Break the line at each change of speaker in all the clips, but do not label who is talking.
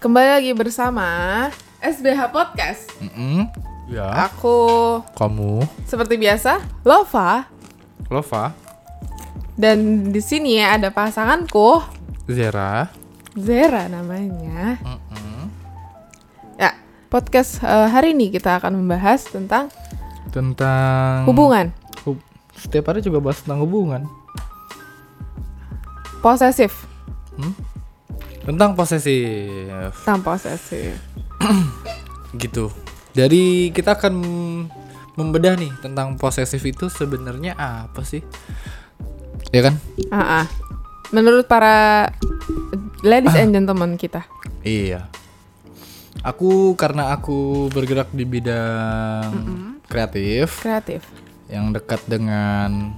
Kembali lagi bersama SBH Podcast.
Mm-mm. Ya,
Aku
kamu
seperti biasa Lova
Lova,
dan di sini ya ada pasanganku
Zera,
Zera namanya. Ya, podcast eh, hari ini kita akan membahas tentang
tentang
hubungan
Hub- Setiap hari juga bahas tentang hubungan.
posesif,
Tentang posesif
tentang posesif.
gitu. Jadi kita akan membedah nih tentang posesif itu sebenarnya apa sih? Ya kan?
Ah, ah. Menurut para ladies and gentlemen kita.
Iya. Aku karena aku bergerak di bidang kreatif
kreatif.
yang dekat dengan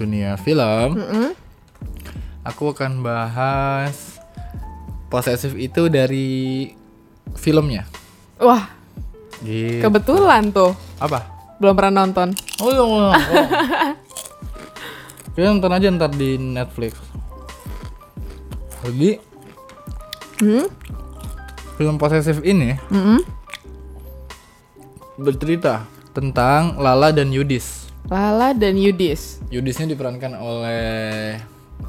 dunia film.
Mm-mm.
Aku akan bahas posesif itu dari filmnya.
Wah, Iya.
Gitu.
kebetulan tuh
Apa?
belum pernah nonton.
Oh, iya, oh, oh. Kita nonton aja ntar di Netflix. Jadi
Hmm?
film posesif ini
Mm-mm.
bercerita tentang Lala dan Yudis.
Lala dan Yudis.
Yudisnya diperankan oleh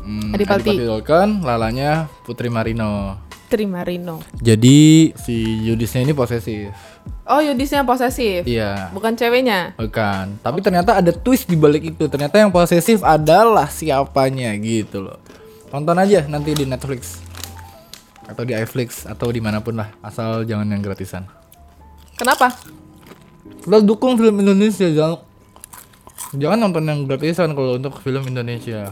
hmm,
Adipati.
Dolken, Lalanya Putri Marino.
Terima Rino.
Jadi si Yudisnya ini posesif.
Oh, Yudisnya posesif.
Iya.
Bukan ceweknya.
Bukan, tapi ternyata ada twist di balik itu. Ternyata yang posesif adalah siapanya gitu loh. Tonton aja nanti di Netflix atau di iFlix atau dimanapun lah, asal jangan yang gratisan.
Kenapa?
Kita dukung film Indonesia jangan jangan nonton yang gratisan kalau untuk film Indonesia.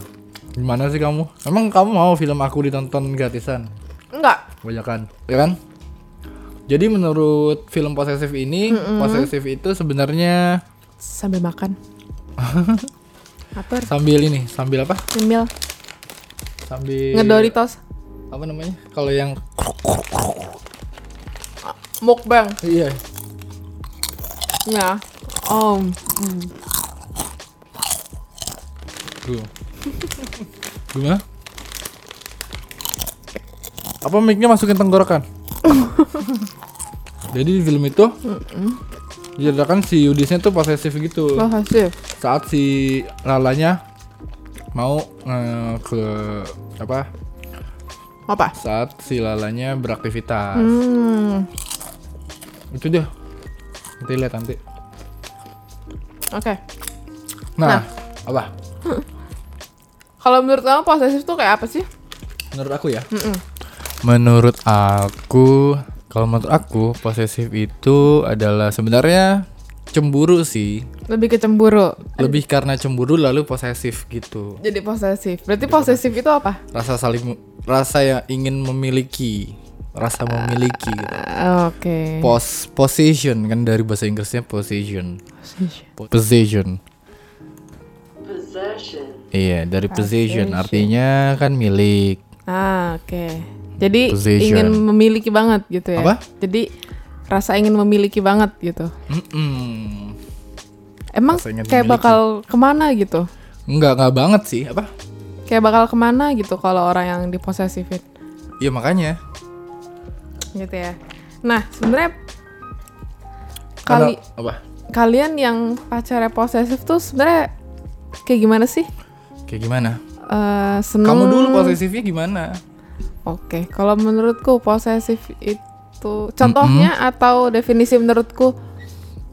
Gimana sih kamu? Emang kamu mau film aku ditonton gratisan?
Enggak.
Kebanyakan, ya kan? Jadi menurut film posesif ini, posesif itu sebenarnya
Sambil makan. Apa?
sambil ini, sambil apa?
Nyemil.
sambil
Ngedoritos.
apa namanya kalau yang
Mukbang.
iya
Ya. Om.
tuh gimana apa mic-nya masukin tenggorokan jadi di film itu diceritakan si Yudisnya tuh posesif gitu
Posesif.
saat si lalanya mau eh, ke apa
Apa?
saat si lalanya beraktivitas
Hmm.
itu dia nanti lihat nanti
Oke. Nah.
nah, apa
Kalau menurut kamu posesif tuh kayak apa sih?
menurut aku ya
Mm-mm.
Menurut aku, kalau menurut aku posesif itu adalah sebenarnya cemburu sih.
Lebih ke cemburu.
Lebih karena cemburu lalu posesif gitu.
Jadi posesif. Berarti posesif itu apa?
Rasa saling rasa yang ingin memiliki, rasa memiliki gitu.
Ah, Oke.
Pos possession kan dari bahasa Inggrisnya possession.
Posesif.
Po- Possession. Iya, dari possession artinya kan milik.
Ah, oke. Jadi
Possession.
ingin memiliki banget gitu ya.
Apa?
Jadi rasa ingin memiliki banget gitu.
Mm-mm.
Emang
Rasa ingin
kayak
memiliki.
bakal kemana gitu?
Enggak, enggak banget sih, apa?
Kayak bakal kemana gitu kalau orang yang diposesifin
Iya makanya.
gitu ya. Nah, sebenarnya kali
Karena- apa?
kalian yang pacarnya posesif tuh sebenarnya kayak gimana sih?
Kayak gimana?
Eh seneng.
Kamu dulu posesifnya gimana?
Oke, kalau menurutku posesif itu contohnya atau definisi menurutku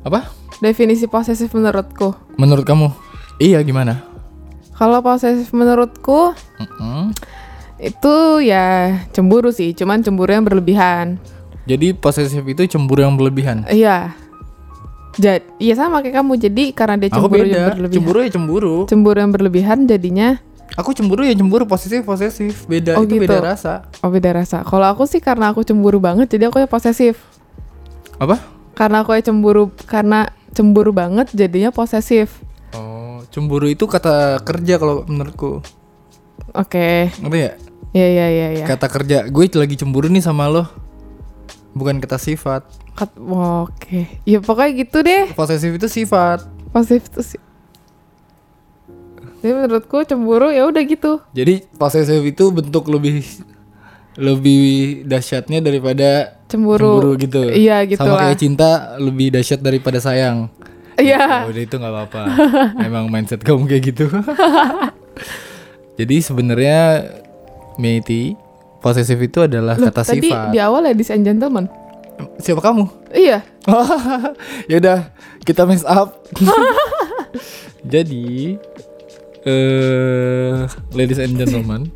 Apa?
definisi posesif menurutku.
Menurut kamu? Iya gimana?
Kalau posesif menurutku
Mm-mm.
itu ya cemburu sih, cuman cemburu yang berlebihan.
Jadi posesif itu cemburu yang berlebihan.
Iya. Jadi, iya sama kayak kamu. Jadi karena dia
Aku
cemburu yang
beda.
berlebihan. Cemburu.
Cemburu ya cemburu.
yang berlebihan jadinya
Aku cemburu ya cemburu. Posesif posesif. Beda
Oh,
itu
gitu.
beda rasa.
oh beda rasa. Kalau aku sih karena aku cemburu banget jadi aku ya posesif.
Apa?
Karena aku ya cemburu karena cemburu banget jadinya posesif.
Oh, cemburu itu kata kerja kalau menurutku.
Oke.
Ngerti ya?
Iya iya iya iya.
Kata kerja. Gue lagi cemburu nih sama lo. Bukan kata sifat.
Kat- Oke. Ya pokoknya gitu deh.
Posesif itu sifat.
Positif tuh sih. Jadi menurutku cemburu ya udah gitu.
Jadi posesif itu bentuk lebih lebih dahsyatnya daripada cemburu
Cemburu.
gitu.
Iya, gitu
Sama
lah.
kayak cinta lebih dahsyat daripada sayang.
Iya.
Oh, udah itu nggak apa-apa. Emang mindset kamu kayak gitu. Jadi sebenarnya Meiti posesif itu adalah
Loh,
Iya. kata
tadi
sifat.
di awal ladies and gentlemen.
Siapa kamu?
Iya.
ya udah, kita mix up. Jadi eh ladies and gentlemen,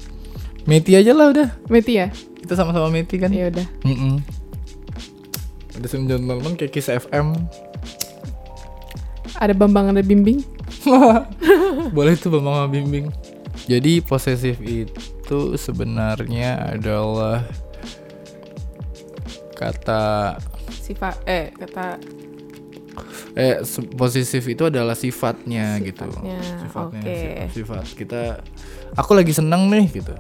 Meiti aja lah udah.
Meti ya?
Kita sama-sama Meiti kan.
Ya udah.
Mm-mm. Ladies and gentlemen kayak Kiss FM.
Ada Bambang ada Bimbing. Hmm.
Boleh tuh Bambang sama Bimbing. Jadi posesif itu sebenarnya adalah kata
Sifat eh kata
eh se- posesif itu adalah sifatnya, gitu.
Sifatnya,
Sifatnya,
oke.
sifat, sifat. Kita aku lagi seneng nih gitu.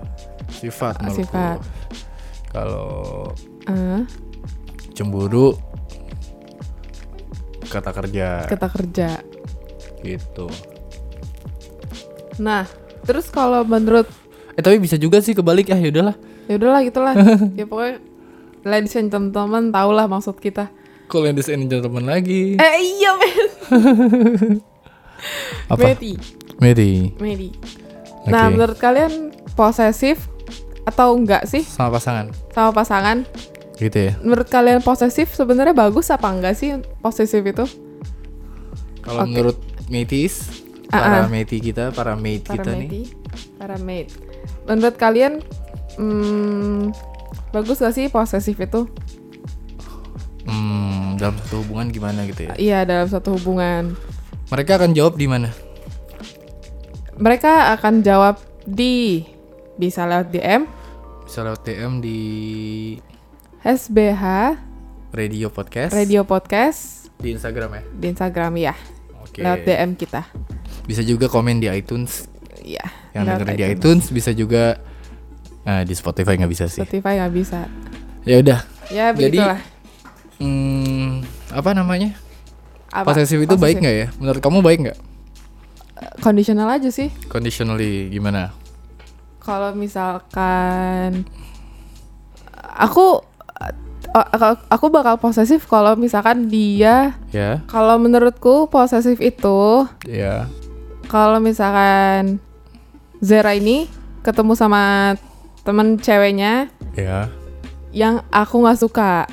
Sifat
Ah,
menurutku.
sifat.
Kalau
eh,
cemburu kata kerja
kata kerja.
gitu.
Nah, terus kalau menurut
Eh tapi bisa juga sih kebalik ya, yaudahlah.
ya udahlah gitulah. ya pokoknya ladies and gentlemen tahulah maksud kita.
Kalau yang desain gentleman lagi.
Eh iya, men. Meti.
Mary
Medi. Nah,
Oke.
menurut kalian posesif atau enggak sih
sama pasangan
sama pasangan?
gitu ya
Menurut kalian posesif sebenarnya bagus apa enggak sih posesif itu?
kalau
Oke. Ah,
menurut Metis para meti kita para mate
Para
kita nih
medi, para mate. Menurut kalian hmm, bagus gak sih posesif itu?
hmm, dalam satu hubungan gimana gitu ya
Iya, dalam satu hubungan.
mereka akan jawab di mana
Mereka akan jawab di bisa lewat DM,
bisa lewat DM di
SBH,
radio podcast
Radio Podcast
di Instagram ya
di Instagram ya.
oke
Lewat DM kita.
bisa juga komen di iTunes
Iya.
yang
lewat
dengerin di iTunes bisa juga nah, di Spotify nggak bisa sih
Spotify nggak bisa.
ya udah
Ya
Jadi,
begitulah.
hmm, apa namanya
Apa?
posesif itu
Posesif.
baik nggak ya menurut kamu baik nggak
Kondisional aja sih.
conditionally gimana
Kalau misalkan aku a- a- aku bakal posesif kalau misalkan dia
ya
kalau menurutku posesif itu
ya
kalau misalkan Zera ini ketemu sama temen ceweknya
ya
yang aku nggak suka.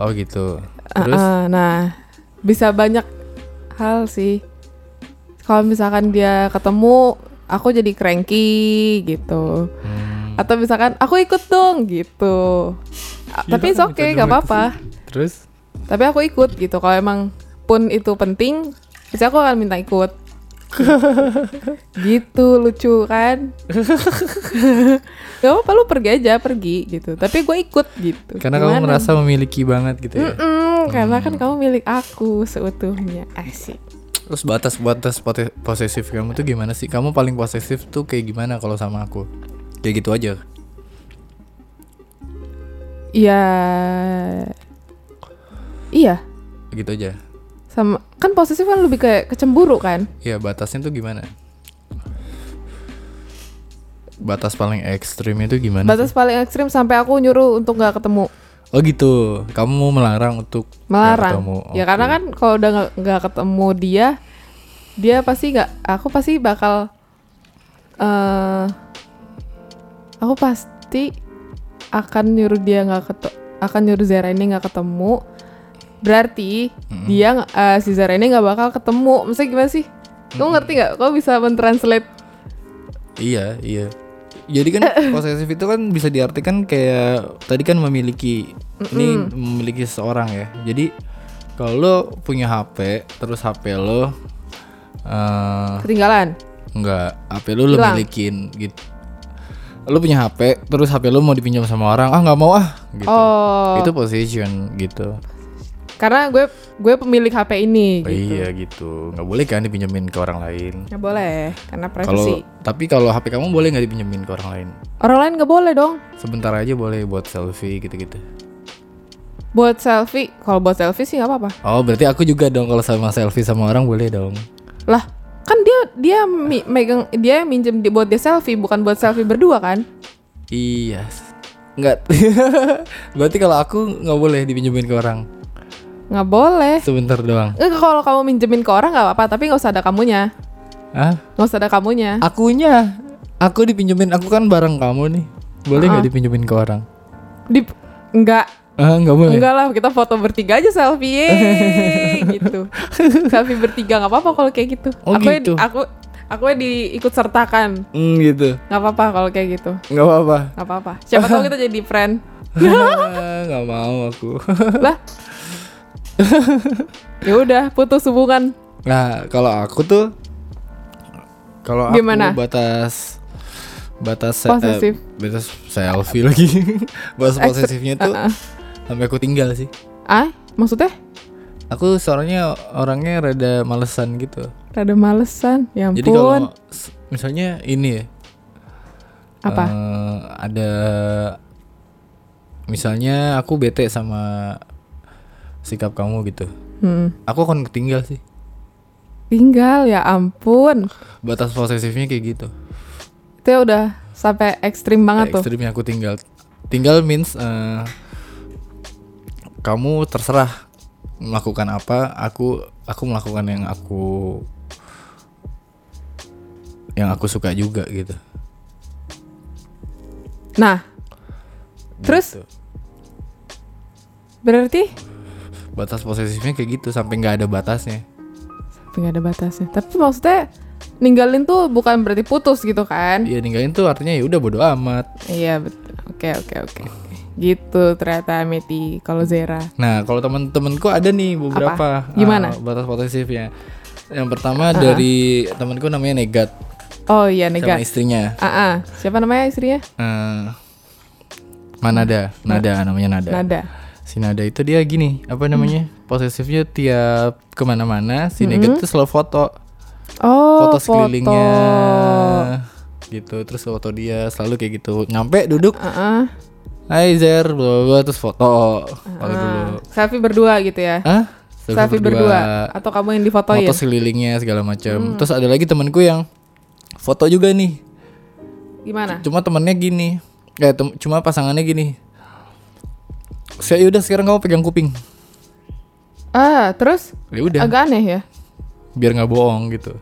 Oh gitu. Terus
Uh-uh, nah, bisa banyak hal sih. Kalau misalkan dia ketemu, aku jadi cranky gitu.
Hmm,
Atau misalkan aku ikut dong gitu. A-
Gila,
Tapi it's okay,
metode
gak
mereka
apa-apa.
terus
Tapi aku ikut gitu. Kalau emang pun itu penting, bisa aku akan minta ikut. gitu lucu kan? gak apa-apa lu pergi aja pergi gitu. Tapi gue ikut gitu.
karena
Gimana?
kamu merasa memiliki banget gitu ya.
Mm-mm, karena kan kamu milik aku seutuhnya asik.
Terus batas-batas pote- posesif kamu tuh gimana sih? Kamu paling posesif tuh kayak gimana kalau sama aku? Kayak gitu aja.
Iya, iya.
Gitu aja.
Sama kan posesif kan lebih kayak kecemburu kan?
Iya, batasnya tuh gimana? Batas paling ekstrim itu gimana?
Batas paling ekstrim sampai aku nyuruh untuk nggak ketemu,
sih? Oh gitu. Kamu melarang untuk nggak
melarang.
ketemu.
Ya
Oke.
karena kan kalau udah nggak- nggak ketemu dia, dia pasti nggak. Aku pasti bakal. eh aku pasti akan nyuruh dia nggak ketemu, akan nyuruh Zara ini nggak ketemu. Berarti dia nggak- eh, si Zara ini nggak bakal ketemu. Maksudnya gimana sih? Kamu ngerti nggak? Kau bisa mentranslate?
Iya, iya. Jadi kan posesif itu kan bisa diartikan kayak tadi kan memiliki ini memiliki seseorang ya. Jadi kalau lo punya HP, terus HP lo eh
Ketinggalan.
enggak HP lo lo
Hilang.
milikin gitu. Lo punya HP, terus HP lo mau dipinjam sama orang, ah nggak mau ah gitu.
Oh,
Itu possession gitu.
karena gue gue pemilik HP ini. gitu.
Oh, Iya gitu. nggak boleh kan dipinjemin ke orang lain.
Nggak boleh karena
Kalau
privasi.
tapi kalau HP kamu boleh nggak dipinjemin ke orang lain?
Orang lain nggak boleh dong.
Sebentar aja boleh buat selfie gitu-gitu.
buat selfie kalau buat selfie sih nggak apa-apa
Oh berarti aku juga dong kalau sama selfie sama orang boleh dong.
lah kan dia dia mi- megang dia yang minjem di- buat dia selfie bukan buat selfie berdua kan
Iya. Enggak. berarti kalau aku nggak boleh dipinjemin ke orang
nggak boleh
sebentar doang.
Eh, kalau kamu minjemin ke orang nggak apa-apa tapi nggak usah ada kamunya
Ah?
nggak usah ada kamunya
Akunya, aku dipinjemin. Aku kan barang kamu nih. Boleh nggak
Ah.
dipinjemin ke orang?
di nggak
Ah nggak boleh.
Enggak lah, kita foto bertiga aja selfie yeay, gitu. selfie bertiga nggak apa-apa kalau kayak gitu.
Oh,
aku
gitu.
aku aku diikut sertakan.
Hmm, gitu.
nggak apa-apa kalau kayak gitu.
Nggak apa-apa.
nggak apa-apa. Siapa tahu kita jadi friend.
Ah, nggak mau aku.
lah. ya udah, putus hubungan.
nah kalau aku tuh, kalau aku
Gimana?
batas batas se-
Posesif.
eh, batas selfie lagi. batas
Ekstr-
posesifnya tuh
Uh-uh.
sampai aku tinggal sih.
Ah, maksudnya?
Aku seorangnya orangnya rada malesan gitu.
Rada malesan. Ya ampun.
Jadi kalau s- misalnya ini ya,
apa?
eh, ada misalnya aku bete sama sikap kamu gitu.
Hmm.
Aku akan ketinggal sih.
Tinggal ya ampun.
Batas posesifnya kayak gitu.
Itu ya udah sampai ekstrim banget
Kayak
tuh.
ekstrimnya aku tinggal. Tinggal means eh, kamu terserah melakukan apa, aku aku melakukan yang aku yang aku suka juga gitu.
Nah, Terus?
Gitu.
berarti
batas posesifnya kayak gitu sampai nggak ada batasnya.
Tapi nggak ada batasnya. Tapi maksudnya ninggalin tuh bukan berarti putus gitu kan?
Iya ninggalin tuh artinya ya udah bodo amat.
Iya betul. Oke oke oke. oke. Gitu ternyata Meti kalau Zera.
Nah kalau temen-temenku ada nih beberapa
Apa? Gimana?
ah, batas posesifnya. Yang pertama dari temenku namanya Negat
Oh iya
sama
Negat.
istrinya.
Ah ah. siapa namanya istrinya?
eh Manada, Nada namanya Nada.
Nada. Hmm.
Si Nada itu dia gini, apa namanya? Posesifnya tiap kemana-mana, si Nega tuh selalu foto,
Oh foto.
foto sekelilingnya, gitu. Terus foto dia selalu kayak gitu. Nyampe duduk,
Ah, ah.
Hai Zer, bla bla bla, terus foto,
Ah.
foto dulu.
Selfie berdua gitu ya?
Hah?
Selfie, berdua. ya? Hmm. Atau kamu yang difotoin?
Foto sekelilingnya segala macam. Terus ada lagi temanku yang foto juga nih.
Gimana?
Cuma temennya gini, eh tem- cuma pasangannya gini. Saya "Ya udah sekarang kamu pegang kuping.
Ah terus?
Ya udah,
Agak aneh ya?
biar nggak bohong gitu.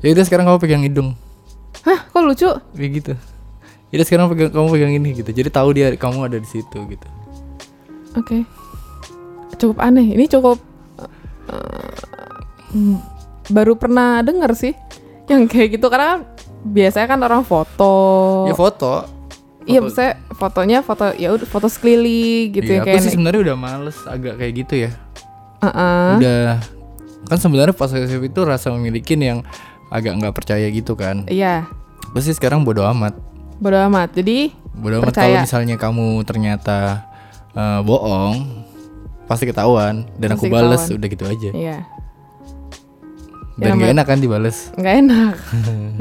Ya udah sekarang kamu pegang hidung,
Hah kok lucu?
ya gitu. Ya udah sekarang pegang, kamu pegang ini gitu. Jadi tahu dia kamu ada di situ gitu.
Oke. Cukup aneh. Ini cukup eh, hmm, baru pernah dengar sih yang kayak gitu karena kan biasanya kan orang foto.
Ya foto.
Iya, maksudnya fotonya foto ya udah foto sekeliling gitu
Iya,
ya
aku
kayak.
sih
nek-
sebenarnya udah males agak kayak gitu ya.
Heeh.
Udah kan sebenarnya posesif itu rasa memiliki yang agak nggak percaya gitu kan.
Iya.
Pasti sekarang bodo amat.
Bodo amat. Jadi
Bodo amat
Percaya.
kalau misalnya kamu ternyata eh, bohong pasti ketahuan dan
Pasti
aku bales
ketahuan.
udah gitu aja.
iya, Ya,
Dan nggak
namanya-
enak kan dibales.
nggak enak.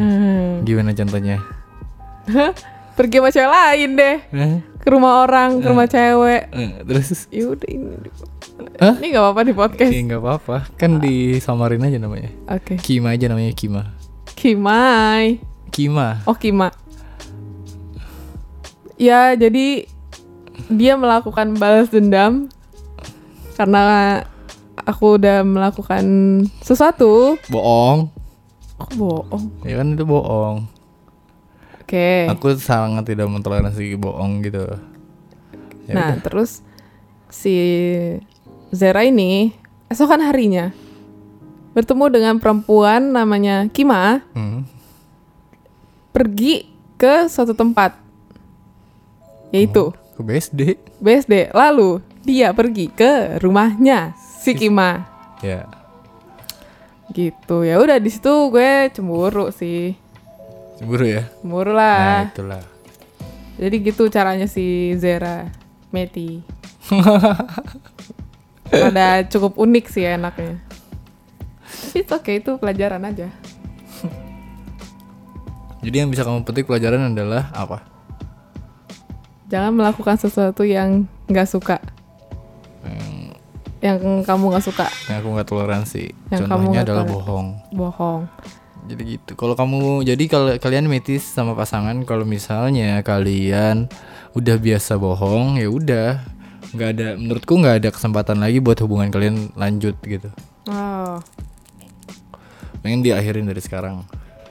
Hmm.
Gimana contohnya?
Pergi sama cewek lain deh.
Eh,
Ke rumah orang, ke
Iya.
rumah cewek.
eh, terus
Ya udah ini.
Hah?
Ini nggak apa-apa di podcast.
ya nggak apa-apa, kan disamarin aja namanya.
Oke.
Kima aja namanya Kima.
Kimai. Oh,
Kima.
Oke, Mak. Ya, jadi dia melakukan balas dendam karena aku udah melakukan sesuatu.
Bohong.
Aku bohong.
Ya kan itu bohong.
Oke.
Aku sangat tidak mentoleransi bohong gitu. Ya
Nah, terus si Zera ini esokan harinya bertemu dengan perempuan namanya Kima
Hmm.
pergi ke suatu tempat yaitu
Ke BSD.
BSD. Lalu dia pergi ke rumahnya si Kima.
Ya.
gitu ya udah di situ gue cemburu sih
Cemburu ya.
cemburu
Nah,
lah
itulah.
jadi gitu caranya si Zera Meti ada cukup unik sih enaknya tapi oke itu pelajaran aja
Jadi yang bisa kamu petik pelajaran adalah apa?
jangan melakukan sesuatu yang nggak suka
Eh,
yang kamu nggak suka
Yang aku nggak toleransi.
Yang kamu
Contohnya
nggak
adalah
toleransi.
bohong.
bohong
Jadi gitu. Kalau kamu jadi kalau kalian metis sama pasangan kalau misalnya kalian udah biasa bohong ya udah nggak ada menurutku nggak ada kesempatan lagi buat hubungan kalian lanjut gitu.
oh
Pengen diakhirin dari sekarang.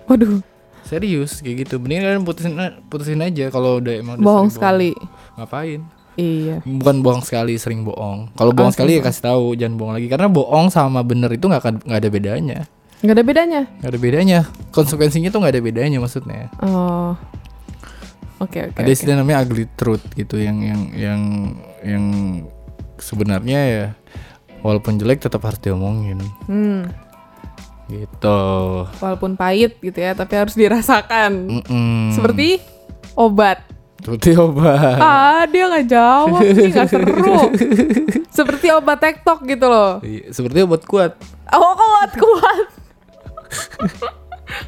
waduh
Serius kayak gitu. Mending kalian putusin putusin aja kalau udah emang udah
bohong
sering
sekali
Ngapain?
iya
Bukan bohong sekali, sering bohong. Kalau
Oh,
bohong sekali ya kasih tahu, jangan bohong lagi karena bohong sama bener itu nggak akan- nggak ada bedanya.
nggak ada bedanya
Nggak ada bedanya. Konsekuensinya tuh nggak ada bedanya maksudnya.
oh oke oke
ada
oke.
istilah namanya ugly truth gitu yang yang yang yang sebenarnya ya walaupun jelek tetap harus diomongin
hmm
gitu
walaupun pahit gitu ya tapi harus dirasakan
Mm-mm.
seperti obat
Hmm, seperti obat
ah dia nggak jawab nih nggak seru seperti obat tektok gitu loh
Iya, seperti obat kuat
oh kuat kuat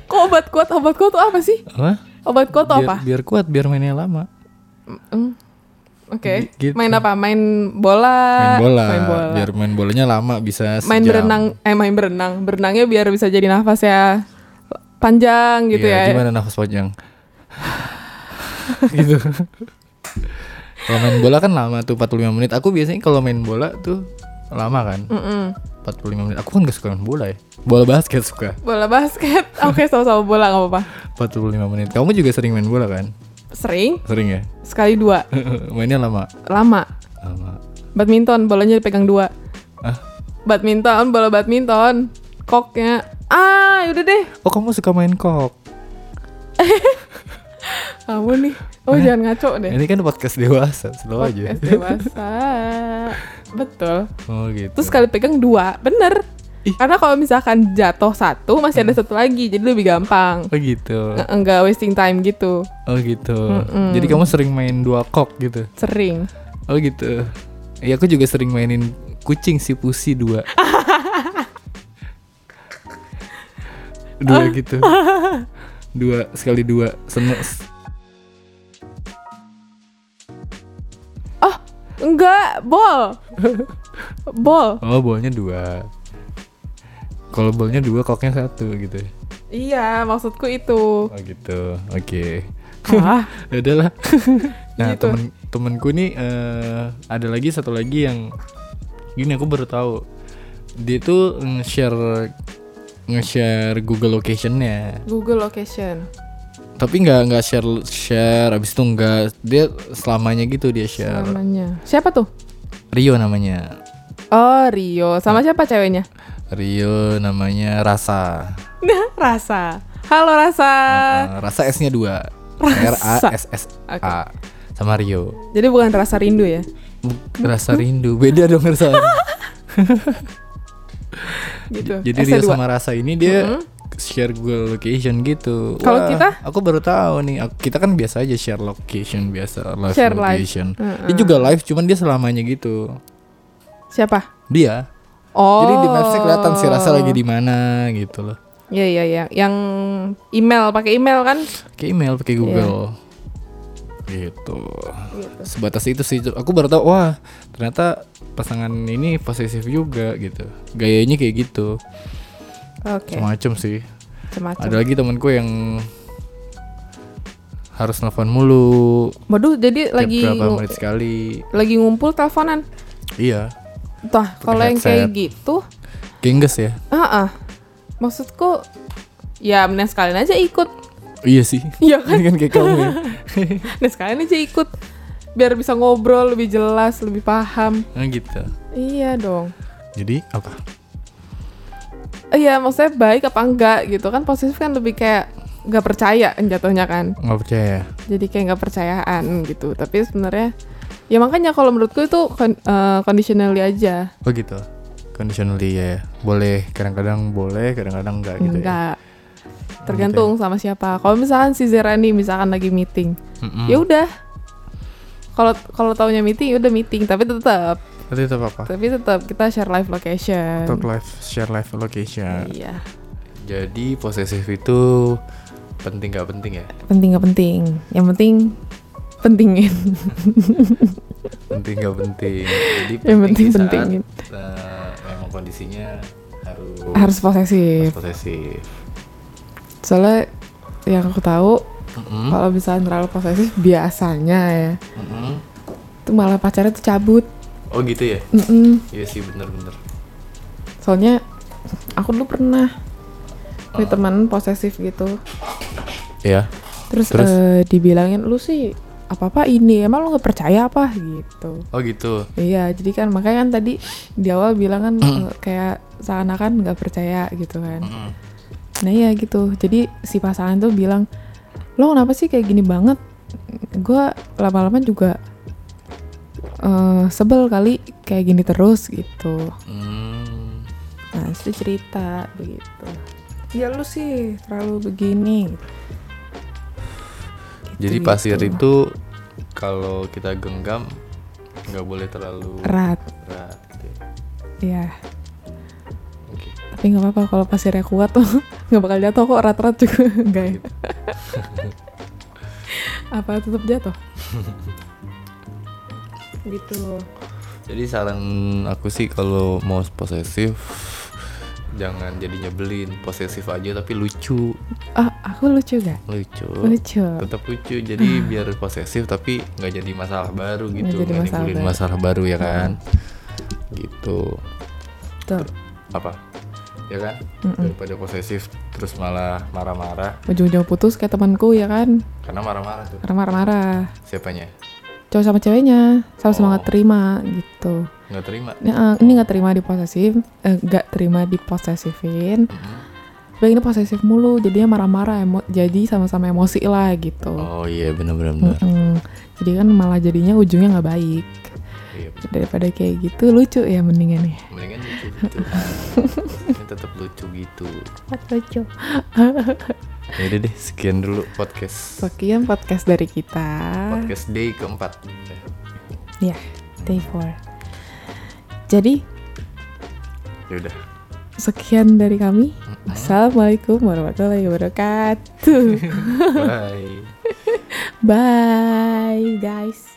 kok obat kuat obat kuat tuh apa sih
apa
obat kuat tuh
biar,
apa
biar kuat biar mainnya lama
Mm, oke
Gitu.
main apa main bola
main bola,
Eh, main bola.
biar main bolanya lama bisa sejam.
Main berenang eh main berenang berenangnya biar bisa jadi nafas ya panjang gitu ya
Iya, gimana nafas panjang gitu kalau main bola kan lama tuh 45 menit aku biasanya kalau main bola tuh lama kan
Mm-mm.
45 menit. Aku kan gak suka main bola ya. Bola basket suka.
bola basket oke sama-sama bola nggak apa-apa
45 menit. Kamu juga sering main bola kan?
sering
Sering ya?
sekali dua
Mainnya lama.
lama
Lama.
badminton bolanya dipegang dua
Ah.
badminton bola badminton koknya ah udah deh
Oh, kamu suka main kok.
kamu nih oh jangan ngaco deh
Ini kan podcast dewasa, slow aja.
podcast dewasa betul
Oh, gitu.
terus sekali pegang dua bener
Ih.
karena kalau misalkan jatuh satu masih ada satu lagi jadi lebih gampang
Oh, gitu.
Nge- enggak wasting time gitu
Oh, gitu. Jadi kamu sering main dua kok gitu.
sering
Oh, gitu. Iya, aku juga sering mainin kucing si pusi dua. dua gitu. Dua sekali dua. Senes.
oh enggak bol bol
Oh bolnya dua Kalau bolnya dua koknya satu gitu
iya maksudku itu
Oh gitu oke
ah
Ya udahlah Nah
Gitu.
temen, temenku nih eh, ada lagi satu lagi yang Gini aku baru tahu Dia tuh nge-share nge-share Google locationnya
Google location
tapi nggak nggak share share abis itu nggak dia selamanya gitu dia share
namanya siapa tuh
Rio namanya
Oh Rio,
Ah.
sama siapa ceweknya?
Rio namanya Rasa
Rasa. Halo Rasa.
Eh, Rasa S nya dua R A
Rasa.
S S A
Oke.
sama Rio
Jadi bukan rasa rindu ya?
Buk- rasa rindu beda dong rasa
Gitu.
jadi
S-nya
Rio
dua. Hmm?
sama rasa ini dia share Google location gitu
Kalau
Wah,
kita?
aku baru tahu nih aku- kita kan biasa aja share location biasa live
Share live.
location dia juga live cuman dia selamanya gitu
siapa?
dia
Oh.
jadi di mapsnya kelihatan si rasa lagi di mana gitu loh
Iya iya iya, yang email pakai email kan?
pakai email pakai Google gitu. sebatas itu sih aku baru tahu wah ternyata pasangan ini posesif juga gitu gayanya kayak gitu
Oke.
macam sih
Macam-macam.
Ada lagi temanku yang harus nelfon mulu
Waduh, jadi lagi
tiap berapa
ngu-
menit sekali.
lagi ngumpul teleponan.
Iya,
Tuh, kalau yang
headset.
kayak gitu,
gengges ya.
ah ah. maksudku ya mending sekalian aja ikut.
Iya sih.
Iya kan?
Ini kan kayak kamu ya.
Nah, sekalian aja ikut biar bisa ngobrol lebih jelas, lebih paham.
Nah, gitu.
Iya dong.
Jadi apa?
Iya maksudnya baik apa enggak gitu kan positif kan lebih kayak nggak percaya kan jatuhnya kan
Nggak percaya. ya?
jadi kayak nggak percayaan gitu tapi sebenarnya ya makanya kalau menurutku itu kon- eh, conditionally aja
Oh gitu. Conditionally ya. Boleh kadang-kadang boleh, kadang-kadang enggak gitu ya.
enggak tergantung sama siapa kalau misalkan si Zerani misalkan lagi meeting ya udah kalau kalau taunya meeting ya udah meeting tapi tetap
Tapi tetap apa?
tapi tetap kita share live location
Talk live, share live location.
iya
Jadi posesif itu penting nggak penting ya?
penting nggak penting yang penting pentingin
penting gak penting jadi
Yang penting
di saat,
pentingin.
eh, emang kondisinya harus
harus posesif
posesif
soalnya yang aku tahu
Mm-mm,
kalau misalnya terlalu posesif biasanya ya
mm-mm.
itu malah pacarnya tuh cabut
oh gitu ya
Mm-mm.
iya sih bener-bener
soalnya aku dulu pernah punya teman posesif gitu
ya
terus,
Terus?
eh, dibilangin lu sih apa apa ini emang lu nggak percaya apa gitu
oh gitu
iya jadi kan makanya kan tadi di awal bilang kan eh, kayak seakan-akan nggak percaya gitu kan
Mm-mm.
nah iya gitu jadi si pasangan tuh bilang lo kenapa sih kayak gini banget gue lama-lama juga eh, sebel kali kayak gini terus gitu
Hmm.
Nah, itu cerita begitu. Ya lu sih terlalu begini.
jadi
Gitu,
pasir
gitu.
itu kalau kita genggam nggak boleh terlalu
erat
erat gitu ya. Gitu.
ya.
Oke.
Tapi nggak apa-apa kalau pasirnya kuat tuh nggak bakal jatuh kok erat-erat juga enggak ya. Apa tetap jatuh? gitu.
Jadi saran aku sih kalau mau posesif jangan jadi nyebelin, posesif aja tapi lucu,
Ah, aku lucu gak?
lucu.
Lucu. Ah.
Tetap lucu. Jadi biar posesif tapi nggak jadi masalah baru gitu,
jadi
nggak
masalah
nimbulin
baru. Hmm.
masalah baru ya kan. Gitu.
Tuh.
Apa? Ya kan? Daripada posesif terus malah marah-marah
Ujung-ujung putus kayak temanku ya kan.
karena marah-marah tuh
Karena marah-marah.
siapanya?
Cowok sama ceweknya sama-sama
Oh.
nggak terima gitu.
nggak terima.
Ini, eh, ini nggak terima diposesif, eh, nggak terima diposesifin.
Mm-mm.
Tapi ini posesif mulu, jadinya marah-marah, emo- jadi sama-sama emosi lah gitu.
Oh iya benar-benar benar.
Mm-mm. Jadi kan malah jadinya ujungnya nggak baik.
Iya.
Daripada kayak gitu lucu ya mendingan ya.
Mendingan lucu gitu. Ini tetap lucu gitu.
Lucu.
Yaudah deh, sekian dulu podcast
Sekian podcast dari kita.
podcast day keempat.
Ya, day four. Jadi
Yaudah,
sekian dari kami. Assalamualaikum warahmatullahi wabarakatuh.
bye.
Bye guys.